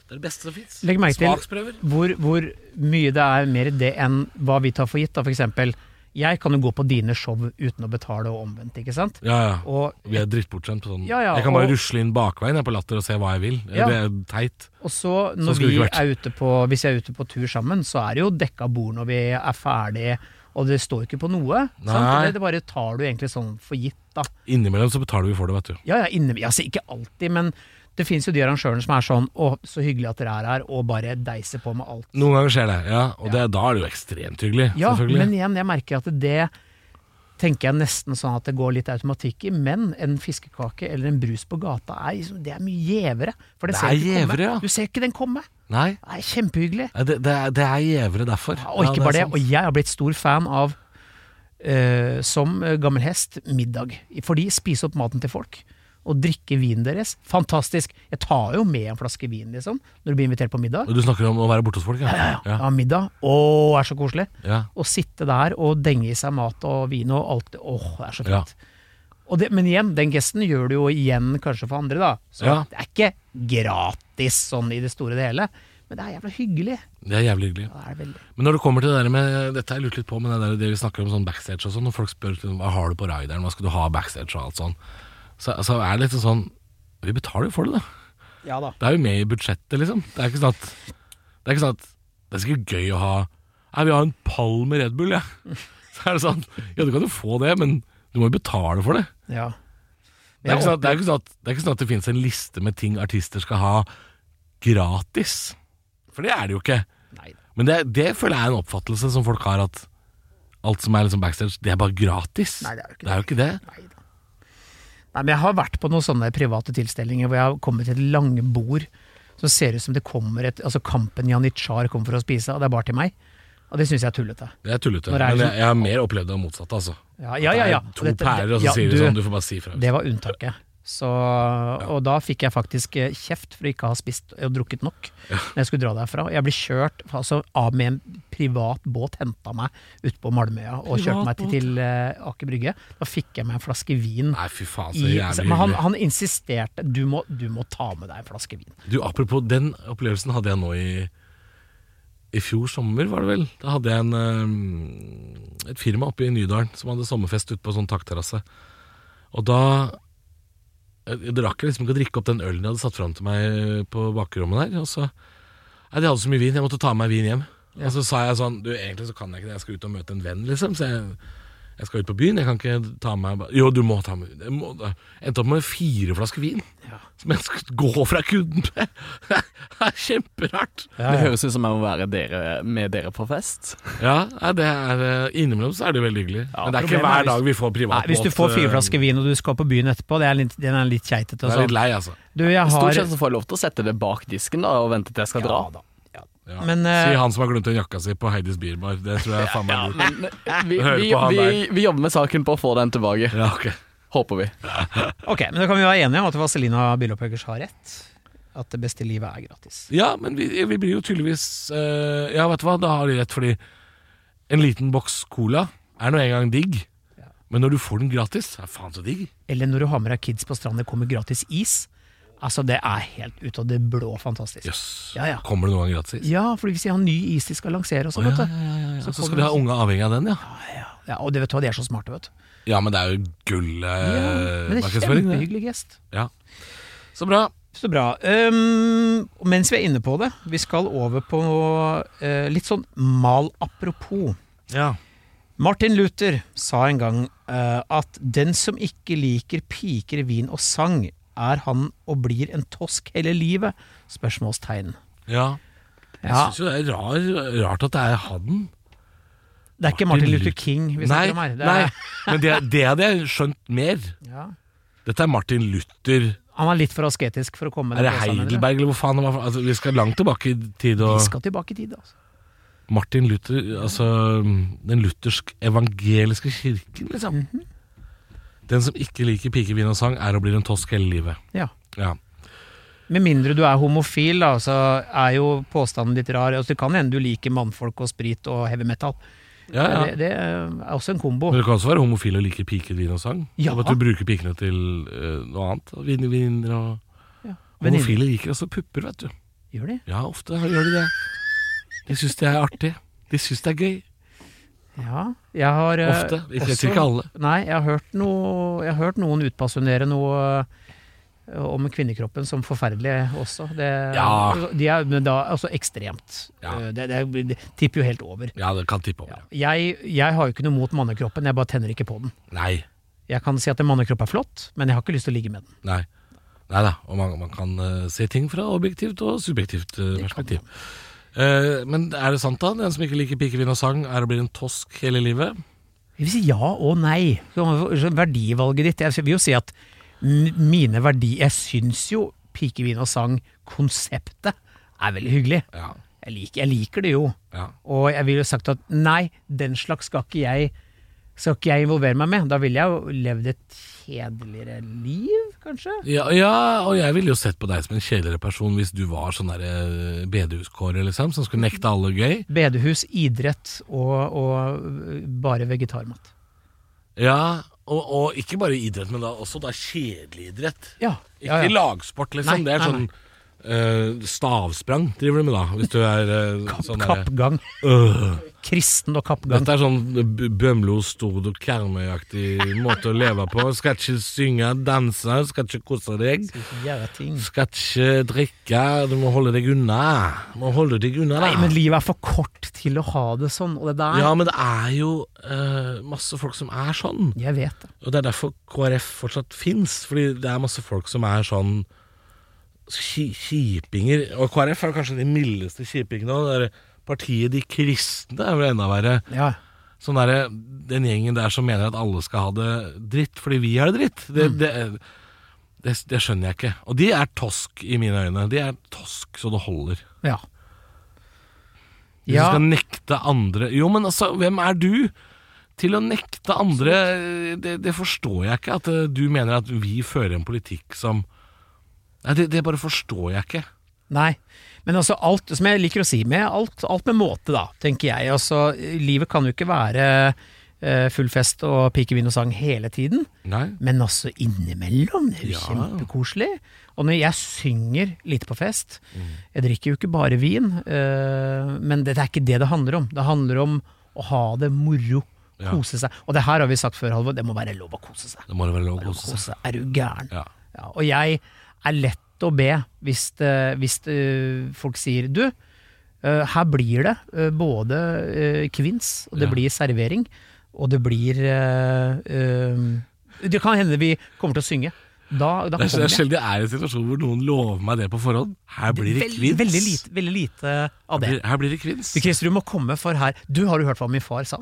Speaker 4: Det er det beste som fins.
Speaker 3: Legg merke til-
Speaker 4: Smaksprøver.
Speaker 3: hvor, hvor mye det er mer det enn hva vi tar for gitt. Da, for eksempel, jeg kan jo gå på dine show uten å betale og omvendt, ikke sant?
Speaker 4: Ja, ja.
Speaker 3: Og,
Speaker 4: vi er drittbortskjemt på sånn.
Speaker 3: Ja, ja,
Speaker 4: jeg kan bare
Speaker 3: og-
Speaker 4: rusle inn bakveien jeg, på Latter og se hva jeg vil.
Speaker 3: Ja.
Speaker 4: Det er teit.
Speaker 3: og så når
Speaker 4: Sånn skulle
Speaker 3: vi
Speaker 4: det ikke vært.
Speaker 3: er ute på, hvis jeg er ute på tur sammen, så er det jo dekka bord når vi er ferdige, og det står ikke på noe. Sant?
Speaker 4: Nei.
Speaker 3: Det, det bare tar du egentlig sånn for gitt, da.
Speaker 4: Innimellom så betaler vi for det, vet du.
Speaker 3: Ja, ja, inne, altså ikke alltid, men det finnes jo de arrangørene som er sånn å, så hyggelig at dere er her, og bare deiser på med alt.
Speaker 4: Noen ganger skjer det, ja. Og Det, da er det jo ekstremt hyggelig.
Speaker 3: Ja,
Speaker 4: selvfølgelig.
Speaker 3: men igjen, jeg merker at det tenker jeg nesten sånn at det går litt automatikk i, men en fiskekake eller en brus på gata er, liksom- det er mye gjevere. For det,
Speaker 4: Det
Speaker 3: ser
Speaker 4: er
Speaker 3: du ikke komme.
Speaker 4: gjevere, ja.
Speaker 3: Du ser ikke den komme.
Speaker 4: Nei,
Speaker 3: Det er kjempehyggelig.
Speaker 4: Nei, det, det, er- det er gjevere derfor.
Speaker 3: Og ikke
Speaker 4: er
Speaker 3: bare det,
Speaker 4: sant.
Speaker 3: og jeg har blitt stor fan av, eh, som eh, gammel hest, middag. Fordi spise opp maten til folk. Og drikke vinen deres. Fantastisk. Jeg tar jo med en flaske vin, liksom, når du blir invitert på middag.
Speaker 4: Og Du snakker om å være borte hos folk? Ja,
Speaker 3: Ja, middag. Å, er så koselig.
Speaker 4: ja.
Speaker 3: Å sitte der og denge i seg mat og vin og alt Åh, det er så
Speaker 4: Ja.
Speaker 3: fint. Og det, men igjen, den gesten gjør du jo igjen kanskje for andre, da. Så
Speaker 4: Ja.
Speaker 3: det er ikke gratis sånn i det store og det hele. Men det er jævla hyggelig.
Speaker 4: Det er jævlig
Speaker 3: Ja,
Speaker 4: hyggelig.
Speaker 3: det er det veldig.
Speaker 4: Men når det kommer til det der med Dette har jeg lurt litt på med det, der, det vi snakker om sånn backstage og sånn, når folk spør liksom, hva har du på rideren, hva skal du ha backstage og alt sånn, så, så er det liksom sånn Vi betaler jo for det, da.
Speaker 3: Ja da.
Speaker 4: Det er jo med i budsjettet, liksom. Det er ikke sånn at Det er ikke sånn at Det er sikkert gøy å ha Nei, vi har en pall med Red Bull, Ja. Så er det sånn Ja, du kan jo få det, men du må jo betale for det.
Speaker 3: Ja.
Speaker 4: Det er ikke sånn at det, er ikke sånn at, det, er ikke sånn at det finnes en liste med ting artister skal ha gratis. For det er det jo ikke.
Speaker 3: Nei.
Speaker 4: Men det, det føler jeg er en oppfattelse som folk har, at alt som er liksom backstage, det er bare gratis.
Speaker 3: Nei, det er jo ikke
Speaker 4: det. Er jo ikke det.
Speaker 3: Nei, men jeg har vært på noen sånne private tilstelninger hvor jeg har kommet til et langbord som ser ut som det kommer et Altså Kampen Janitsjar kommer for å spise, og det er bare til meg. Og det syns jeg er tullete.
Speaker 4: Det er tullete.
Speaker 3: Når det er
Speaker 4: Men
Speaker 3: sånn-
Speaker 4: jeg, jeg har mer opplevd det motsatte, altså.
Speaker 3: Ja, ja, ja. ja.
Speaker 4: Det er
Speaker 3: Og
Speaker 4: To
Speaker 3: dette- det-
Speaker 4: pærer, og så
Speaker 3: ja,
Speaker 4: sier de
Speaker 3: du-
Speaker 4: sånn Du får bare si fra.
Speaker 3: Det var unntaket. Så, og da fikk jeg faktisk eh, kjeft for å ikke ha spist og drukket nok når jeg skulle dra derfra. Jeg ble kjørt altså, av med en privat båt, henta meg ute på Malmøya og kjørte meg til, til eh, Aker Brygge. Da fikk jeg meg en flaske vin.
Speaker 4: Nei, fy faen, så
Speaker 3: I,
Speaker 4: jævlig
Speaker 3: men han,
Speaker 4: hyggelig.
Speaker 3: han insisterte du må, du må ta med deg en flaske vin.
Speaker 4: Du, apropos den opplevelsen hadde jeg nå i i fjor sommer, var det vel. Da hadde jeg en, eh, et firma oppe i Nydalen som hadde sommerfest ute på en sånn takterrasse. Og da jeg, jeg rakk liksom ikke å drikke opp den ølen de hadde satt fram til meg eh, på bakrommet der. Og så Nei, de hadde så mye vin, jeg måtte ta med meg vin hjem. Og så sa jeg sånn Du, egentlig så kan jeg ikke det, jeg skal ut og møte en venn, liksom. Så jeg, jeg skal ut på byen, jeg kan ikke ta med meg Jo, du må ta med jeg må, jeg Endte opp med fire flasker vin. Som jeg skulle gå fra kunden med. det er kjemperart.
Speaker 5: Det høres ut som jeg må være dere, med dere på fest.
Speaker 4: Ja, nei, det er eh, Innimellom så er det jo veldig hyggelig. Men det er ikke
Speaker 3: problemet er
Speaker 4: hver dag vi får
Speaker 3: Nei,
Speaker 4: privatbåt.
Speaker 3: hvis du får fire
Speaker 4: eh,
Speaker 3: flasker vin og du skal på byen etterpå, det er litt, den er litt keitete.
Speaker 4: Det
Speaker 3: og
Speaker 4: er litt
Speaker 3: sånn.
Speaker 4: lei, altså.
Speaker 3: Du, jeg
Speaker 5: Stort
Speaker 3: har
Speaker 5: sett så får jeg lov til å sette det bak disken da og vente til jeg skal dra.
Speaker 3: Ja,
Speaker 4: Ja.
Speaker 3: Men, eh,
Speaker 4: si han som har glemt igjen jakka si på Heidis Bierbar. Det tror jeg faen meg er lurt.
Speaker 5: Vi,
Speaker 4: Hører
Speaker 5: vi,
Speaker 4: på han
Speaker 5: vi,
Speaker 4: der.
Speaker 5: vi jobber med saken på å få den tilbake.
Speaker 4: Ja, ok.
Speaker 5: Håper vi.
Speaker 3: Ok, men da kan vi være enige om at Vazelina Bilopphøggers har rett. At det beste livet er gratis.
Speaker 4: ja men vi, vi blir jo tydeligvis eh, Ja, vet du hva, da har de rett, fordi en liten boks cola er nå en gang digg. Men når du får den gratis, er faen så digg.
Speaker 3: Eller når du har med deg kids på stranda, kommer gratis is. Altså, det er helt ut av det blå fantastisk.
Speaker 4: Jøss.
Speaker 3: Ja, ja.
Speaker 4: Kommer det noen gang gratis?
Speaker 3: Ja, for hvis de har ny is de skal lansere og sånn,
Speaker 4: ja,
Speaker 3: vet
Speaker 4: ja,
Speaker 3: du.
Speaker 4: ja, ja.
Speaker 3: Så
Speaker 4: Så
Speaker 3: kommer
Speaker 4: skal de ha unge avhengig av den, ja.
Speaker 3: Ja, og det vet du hva, de er så smarte, vet du.
Speaker 4: Ja, men det er jo gull eh,
Speaker 3: Men det er
Speaker 4: markedsføring. det.
Speaker 3: kjempehyggelig gest.
Speaker 4: Ja. Så bra.
Speaker 3: Så bra. Ehm, og mens vi er inne på det, vi skal over på eh, litt sånn mal apropos.
Speaker 4: Ja.
Speaker 3: Martin Luther sa en gang eh, at den som ikke liker piker, vin og sang, er han og blir en tosk hele livet? Spørsmålstegn.
Speaker 4: ja. Jeg
Speaker 3: Ja,
Speaker 4: syns jo det er rar, rart at det er han.
Speaker 3: det er ikke Martin
Speaker 4: Martin
Speaker 3: Luther
Speaker 4: Luther-
Speaker 3: King vi
Speaker 4: Nei,
Speaker 3: snakker om her. Det
Speaker 4: nei,
Speaker 3: er,
Speaker 4: men det, det hadde jeg skjønt mer.
Speaker 3: ja.
Speaker 4: Dette er Martin Luther.
Speaker 3: Han var litt for asketisk for å komme med
Speaker 4: Er det
Speaker 3: påstanden, eller?
Speaker 4: Heidelberg, eller hvor faen det var? for- Altså, vi skal langt tilbake i tid.
Speaker 3: Vi
Speaker 4: Og
Speaker 3: skal tilbake i tid, altså.
Speaker 4: Martin Luther, altså den luthersk-evangeliske kirken, liksom.
Speaker 3: Mhm.
Speaker 4: Den som ikke liker pike, vin og sang, er og blir en tosk hele livet.
Speaker 3: Ja.
Speaker 4: Ja.
Speaker 3: Med mindre du er homofil, da, så er jo påstanden litt rar. Altså, det kan hende du liker mannfolk og sprit og heavy metal.
Speaker 4: Ja, ja.
Speaker 3: Det, det er også en kombo.
Speaker 4: Men du kan også være homofil og like piker, vin og sang.
Speaker 3: Ja.
Speaker 4: Om At du bruker pikene til eh, noe annet. og Vin, viner og
Speaker 3: Ja.
Speaker 4: Homofile liker også pupper, vet du.
Speaker 3: Gjør de?
Speaker 4: Ja, ofte gjør de det. De syns det er artig. De syns det er gøy.
Speaker 3: Ja. Jeg har eh,
Speaker 4: Ofte. Ikke, jeg tror ikke alle.
Speaker 3: Nei, jeg har hørt, noe, jeg har hørt noen utbasunere noe eh, om kvinnekroppen som forferdelig også. Det,
Speaker 4: Ja.
Speaker 3: De er men da altså ekstremt.
Speaker 4: Ja.
Speaker 3: Eh, Det, det, det tipper jo helt over.
Speaker 4: Ja, det kan tippe over. ja.
Speaker 3: Jeg, jeg har jo ikke noe mot mannekroppen, jeg bare tenner ikke på den.
Speaker 4: Nei.
Speaker 3: Jeg kan si at en mannekropp er flott, men jeg har ikke lyst til å ligge med den.
Speaker 4: Nei. Nei da. Og man, man kan eh, se ting fra objektivt og subjektivt eh, perspektiv. Eh, men er det sant, da? Den som ikke liker pike, vin og sang, er og blir en tosk hele livet?
Speaker 3: Jeg vil si ja og nei. Så Verdivalget ditt Jeg vil jo si at m- mine verdi Jeg syns jo pikevin og sang-konseptet er veldig hyggelig.
Speaker 4: Ja.
Speaker 3: Jeg liker, jeg liker det jo.
Speaker 4: ja.
Speaker 3: Og jeg ville jo sagt at nei, den slags skal ikke jeg skal ikke jeg involvere meg med. Da ville jeg jo levd et kjedeligere liv, kanskje.
Speaker 4: Ja, ja, og jeg ville jo sett på deg som en kjedeligere person hvis du var sånn der eh, bedehuskåre, liksom, som skulle nekte alle gøy.
Speaker 3: Bedehus, idrett og, og bare vegetarmat.
Speaker 4: Ja, og, og ikke bare idrett, men da, også da kjedelig idrett.
Speaker 3: Ja,
Speaker 4: Ikke
Speaker 3: ja, ja.
Speaker 4: lagsport, liksom.
Speaker 3: Nei,
Speaker 4: det
Speaker 3: nei,
Speaker 4: er sånn eh, stavsprang driver du med da, hvis du er eh, sånn derre
Speaker 3: Kappgang.
Speaker 4: Øh.
Speaker 3: Kristen og kappgang.
Speaker 4: Dette er sånn B- Bømlo, Stord og Karmøy-aktig måte å leve på. Skal ikke synge, danse, skal ikke kose deg.
Speaker 3: Jævla ting.
Speaker 4: Skal ikke drikke, du må holde deg unna. Må holde deg unna, da.
Speaker 3: Nei, men livet er for kort til å ha det sånn, og det der
Speaker 4: Ja, men det er jo eh, masse folk som er sånn.
Speaker 3: Jeg vet det.
Speaker 4: Og det er derfor KrF fortsatt fins, fordi det er masse folk som er sånn ki- kjipinger. Og KrF er jo kanskje de mildeste kjipingene òg. Det der Partiet De kristne er vel enda verre.
Speaker 3: Ja.
Speaker 4: Sånn derre- den gjengen der som mener at alle skal ha det dritt fordi vi har det dritt. Det, det, det, det skjønner jeg ikke. Og de er tosk i mine øyne. De er tosk så det holder.
Speaker 3: Ja.
Speaker 4: Hvis
Speaker 3: Ja.
Speaker 4: du skal nekte andre Jo, men altså, hvem er du til å nekte andre Det, det forstår jeg ikke. At eh, du mener at vi fører en politikk som Nei, det, det bare forstår jeg ikke.
Speaker 3: Nei. Men altså alt, som jeg liker å si med alt, alt med måte, da, tenker jeg. Altså, livet kan jo ikke være eh, full fest og pikevin og sang hele tiden.
Speaker 4: Nei.
Speaker 3: Men altså innimellom. Det er jo kjempekoselig. Og når jeg synger litt på fest
Speaker 4: Mm.
Speaker 3: Jeg drikker jo ikke bare vin, eh, men det, det er ikke det det handler om. Det handler om å ha det moro.
Speaker 4: Ja.
Speaker 3: Kose sseg. Og det her har vi sagt før, Halvor, det må være lov å kose seg.
Speaker 4: Det må det være lov å
Speaker 3: Lov å
Speaker 4: kose seg.
Speaker 3: kose seg. Er du gæren?
Speaker 4: Ja.
Speaker 3: Ja, og jeg er lett å be hvis, det, hvis det, folk sier du, eh, her blir det eh, både eh, kvinns, og det
Speaker 4: Ja.
Speaker 3: blir servering, og det blir eh, eh, Det kan hende vi kommer til å synge. Da, da
Speaker 4: Det er, det
Speaker 3: kommer
Speaker 4: er
Speaker 3: jeg.
Speaker 4: sjelden jeg er i en situasjon hvor noen lover meg det på forhånd. Her blir det
Speaker 3: Veldig,
Speaker 4: kvinns.
Speaker 3: veldig, lite, veldig lite av
Speaker 4: Her
Speaker 3: det.
Speaker 4: blir, her blir det kvinns.
Speaker 3: Du, Christer, du må komme for her. Du har jo hørt hva min far sa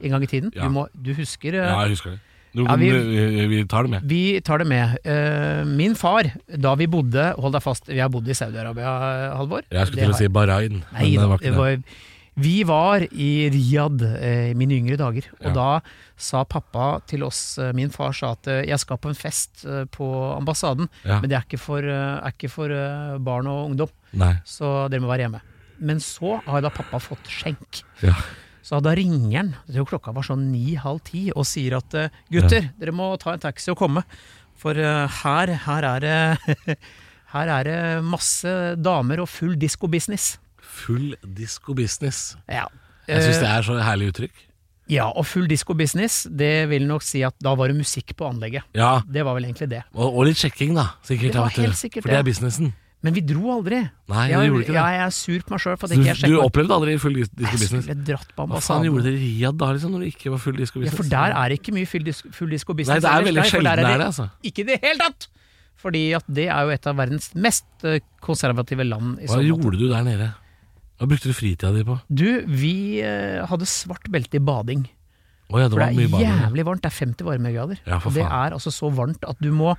Speaker 3: en gang i tiden.
Speaker 4: Ja.
Speaker 3: Du, må, du husker eh,
Speaker 4: Ja, jeg husker det. Du,
Speaker 3: Ja, vi-
Speaker 4: vi, vi tar det med.
Speaker 3: Vi tar det med. Eh, min far, da vi bodde Hold deg fast, vi har bodd i Saudi-Arabia, eh, Halvor.
Speaker 4: Jeg skulle
Speaker 3: Det
Speaker 4: til å
Speaker 3: har-
Speaker 4: si Bahrain, men
Speaker 3: Nei,
Speaker 4: det var
Speaker 3: det
Speaker 4: ikke det.
Speaker 3: var, vi var i Riyadh eh, i mine yngre dager, og
Speaker 4: Ja.
Speaker 3: da sa pappa til oss eh, Min far sa at eh, jeg skal på en fest eh, på ambassaden,
Speaker 4: Ja.
Speaker 3: men det er ikke for, eh, er ikke for eh, barn og ungdom,
Speaker 4: Nei.
Speaker 3: så dere må være hjemme. Men så har da pappa fått skjenk.
Speaker 4: Ja.
Speaker 3: Så da ringer han, jeg tror klokka var sånn ni-halv ti, og sier at eh, gutter, dere må ta en taxi og komme. For eh, her, her er det Her er det masse damer og full disko-business.
Speaker 4: Full disko-business.
Speaker 3: Ja.
Speaker 4: Jeg syns det er så herlig uttrykk.
Speaker 3: Ja, og full disko-business, det vil nok si at da var det musikk på anlegget.
Speaker 4: Ja,
Speaker 3: Det var vel egentlig det.
Speaker 4: og, og litt sjekking, da. Sikkert.
Speaker 3: Det var
Speaker 4: vet du.
Speaker 3: helt sikkert
Speaker 4: For det
Speaker 3: det.
Speaker 4: er businessen.
Speaker 3: Men vi dro aldri.
Speaker 4: Nei,
Speaker 3: jeg,
Speaker 4: dere gjorde ikke det.
Speaker 3: ja, jeg er sur på meg sjøl for at
Speaker 4: Du,
Speaker 3: ikke jeg
Speaker 4: du
Speaker 3: sjekka.
Speaker 4: opplevde aldri full dis-
Speaker 3: Jeg
Speaker 4: disko-business?
Speaker 3: skulle dratt på
Speaker 4: Hva faen gjorde
Speaker 3: ambassaden.
Speaker 4: dere i Riyadh da, liksom, når det ikke var full
Speaker 3: Ja,
Speaker 4: disko-business?
Speaker 3: for der er det ikke mye full dis- full disko-business.
Speaker 4: Nei, det er
Speaker 3: ellers.
Speaker 4: veldig
Speaker 3: for
Speaker 4: sjelden
Speaker 3: der
Speaker 4: det er det, altså.
Speaker 3: Ikke i det hele tatt! Fordi at det er jo et av verdens mest eh, konservative land. I
Speaker 4: Hva
Speaker 3: så måte.
Speaker 4: gjorde du der nede? Hva brukte du fritida di på?
Speaker 3: Du, vi eh, hadde svart belte i bading.
Speaker 4: Å ja, det
Speaker 3: For
Speaker 4: var
Speaker 3: det
Speaker 4: mye
Speaker 3: er
Speaker 4: bading.
Speaker 3: jævlig varmt. Det er 50 varmegrader.
Speaker 4: Ja, for
Speaker 3: og det
Speaker 4: faen.
Speaker 3: er altså så varmt at du må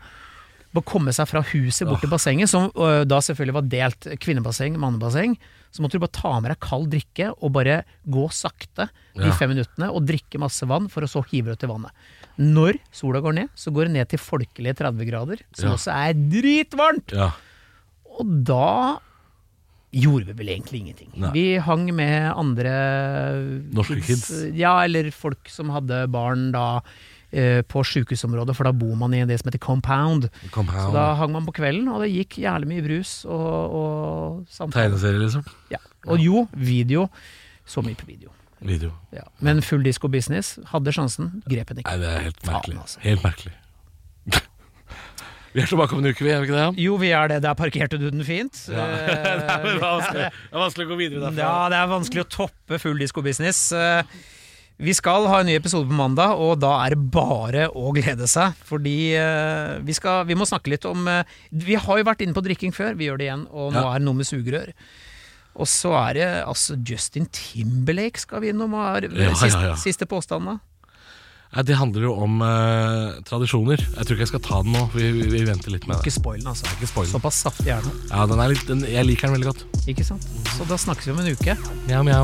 Speaker 3: bare komme seg fra huset bort til bassenget, som øh, da selvfølgelig var delt kvinnebasseng, mannebasseng. Så måtte du bare ta med deg kald drikke og bare gå sakte de
Speaker 4: Ja.
Speaker 3: fem minuttene og drikke masse vann, for å så hive det ut i vannet. Når sola går ned, så går det ned til folkelige 30 grader, som
Speaker 4: Ja.
Speaker 3: også er dritvarmt!
Speaker 4: Ja.
Speaker 3: Og da gjorde vi vel egentlig ingenting.
Speaker 4: Nei.
Speaker 3: Vi hang med andre
Speaker 4: Norske kids.
Speaker 3: Ja, eller folk som hadde barn da eh, på sjukehusområdet, for da bor man i det som heter compound.
Speaker 4: Come
Speaker 3: Så
Speaker 4: on.
Speaker 3: da hang man på kvelden, og det gikk jævlig mye brus og, og samtale.
Speaker 4: Tegneserie, liksom.
Speaker 3: Ja. Og jo, video. Så mye på video.
Speaker 4: Video.
Speaker 3: Ja. Men full disko business hadde sjansen, grep den ikke.
Speaker 4: Nei, det er helt
Speaker 3: Faen,
Speaker 4: merkelig.
Speaker 3: altså.
Speaker 4: Helt merkelig. vi er tilbake om en uke, vi, er vi ikke det?
Speaker 3: Jo, vi er det. Der parkerte du den fint.
Speaker 4: Ja. det
Speaker 3: Eh,
Speaker 4: er vanskelig, det er vanskelig å gå videre derfra.
Speaker 3: Ja, det er vanskelig å toppe full disko-business. Eh, Vi skal ha en ny episode på mandag, og da er det bare å glede seg. Fordi eh, vi, skal, vi må snakke litt om eh, Vi har jo vært inne på drikking før, vi gjør det igjen, og nå
Speaker 4: Ja.
Speaker 3: er det noe med sugerør. Og så er det altså Justin Timberlake skal vi innom. og Er,
Speaker 4: ja,
Speaker 3: Siste,
Speaker 4: ja.
Speaker 3: siste påstanden, da.
Speaker 4: Nei, det handler jo om eh, tradisjoner. Jeg tror ikke jeg skal ta den nå. Vi, vi, vi venter litt med
Speaker 3: Ikke
Speaker 4: det.
Speaker 3: spoil den, altså.
Speaker 4: Ikke spoil den.
Speaker 3: Såpass saftig er den.
Speaker 4: Ja, den er litt, den, jeg liker den veldig godt.
Speaker 3: Ikke sant? Så da snakkes vi om en uke.
Speaker 4: Mjau, mjau.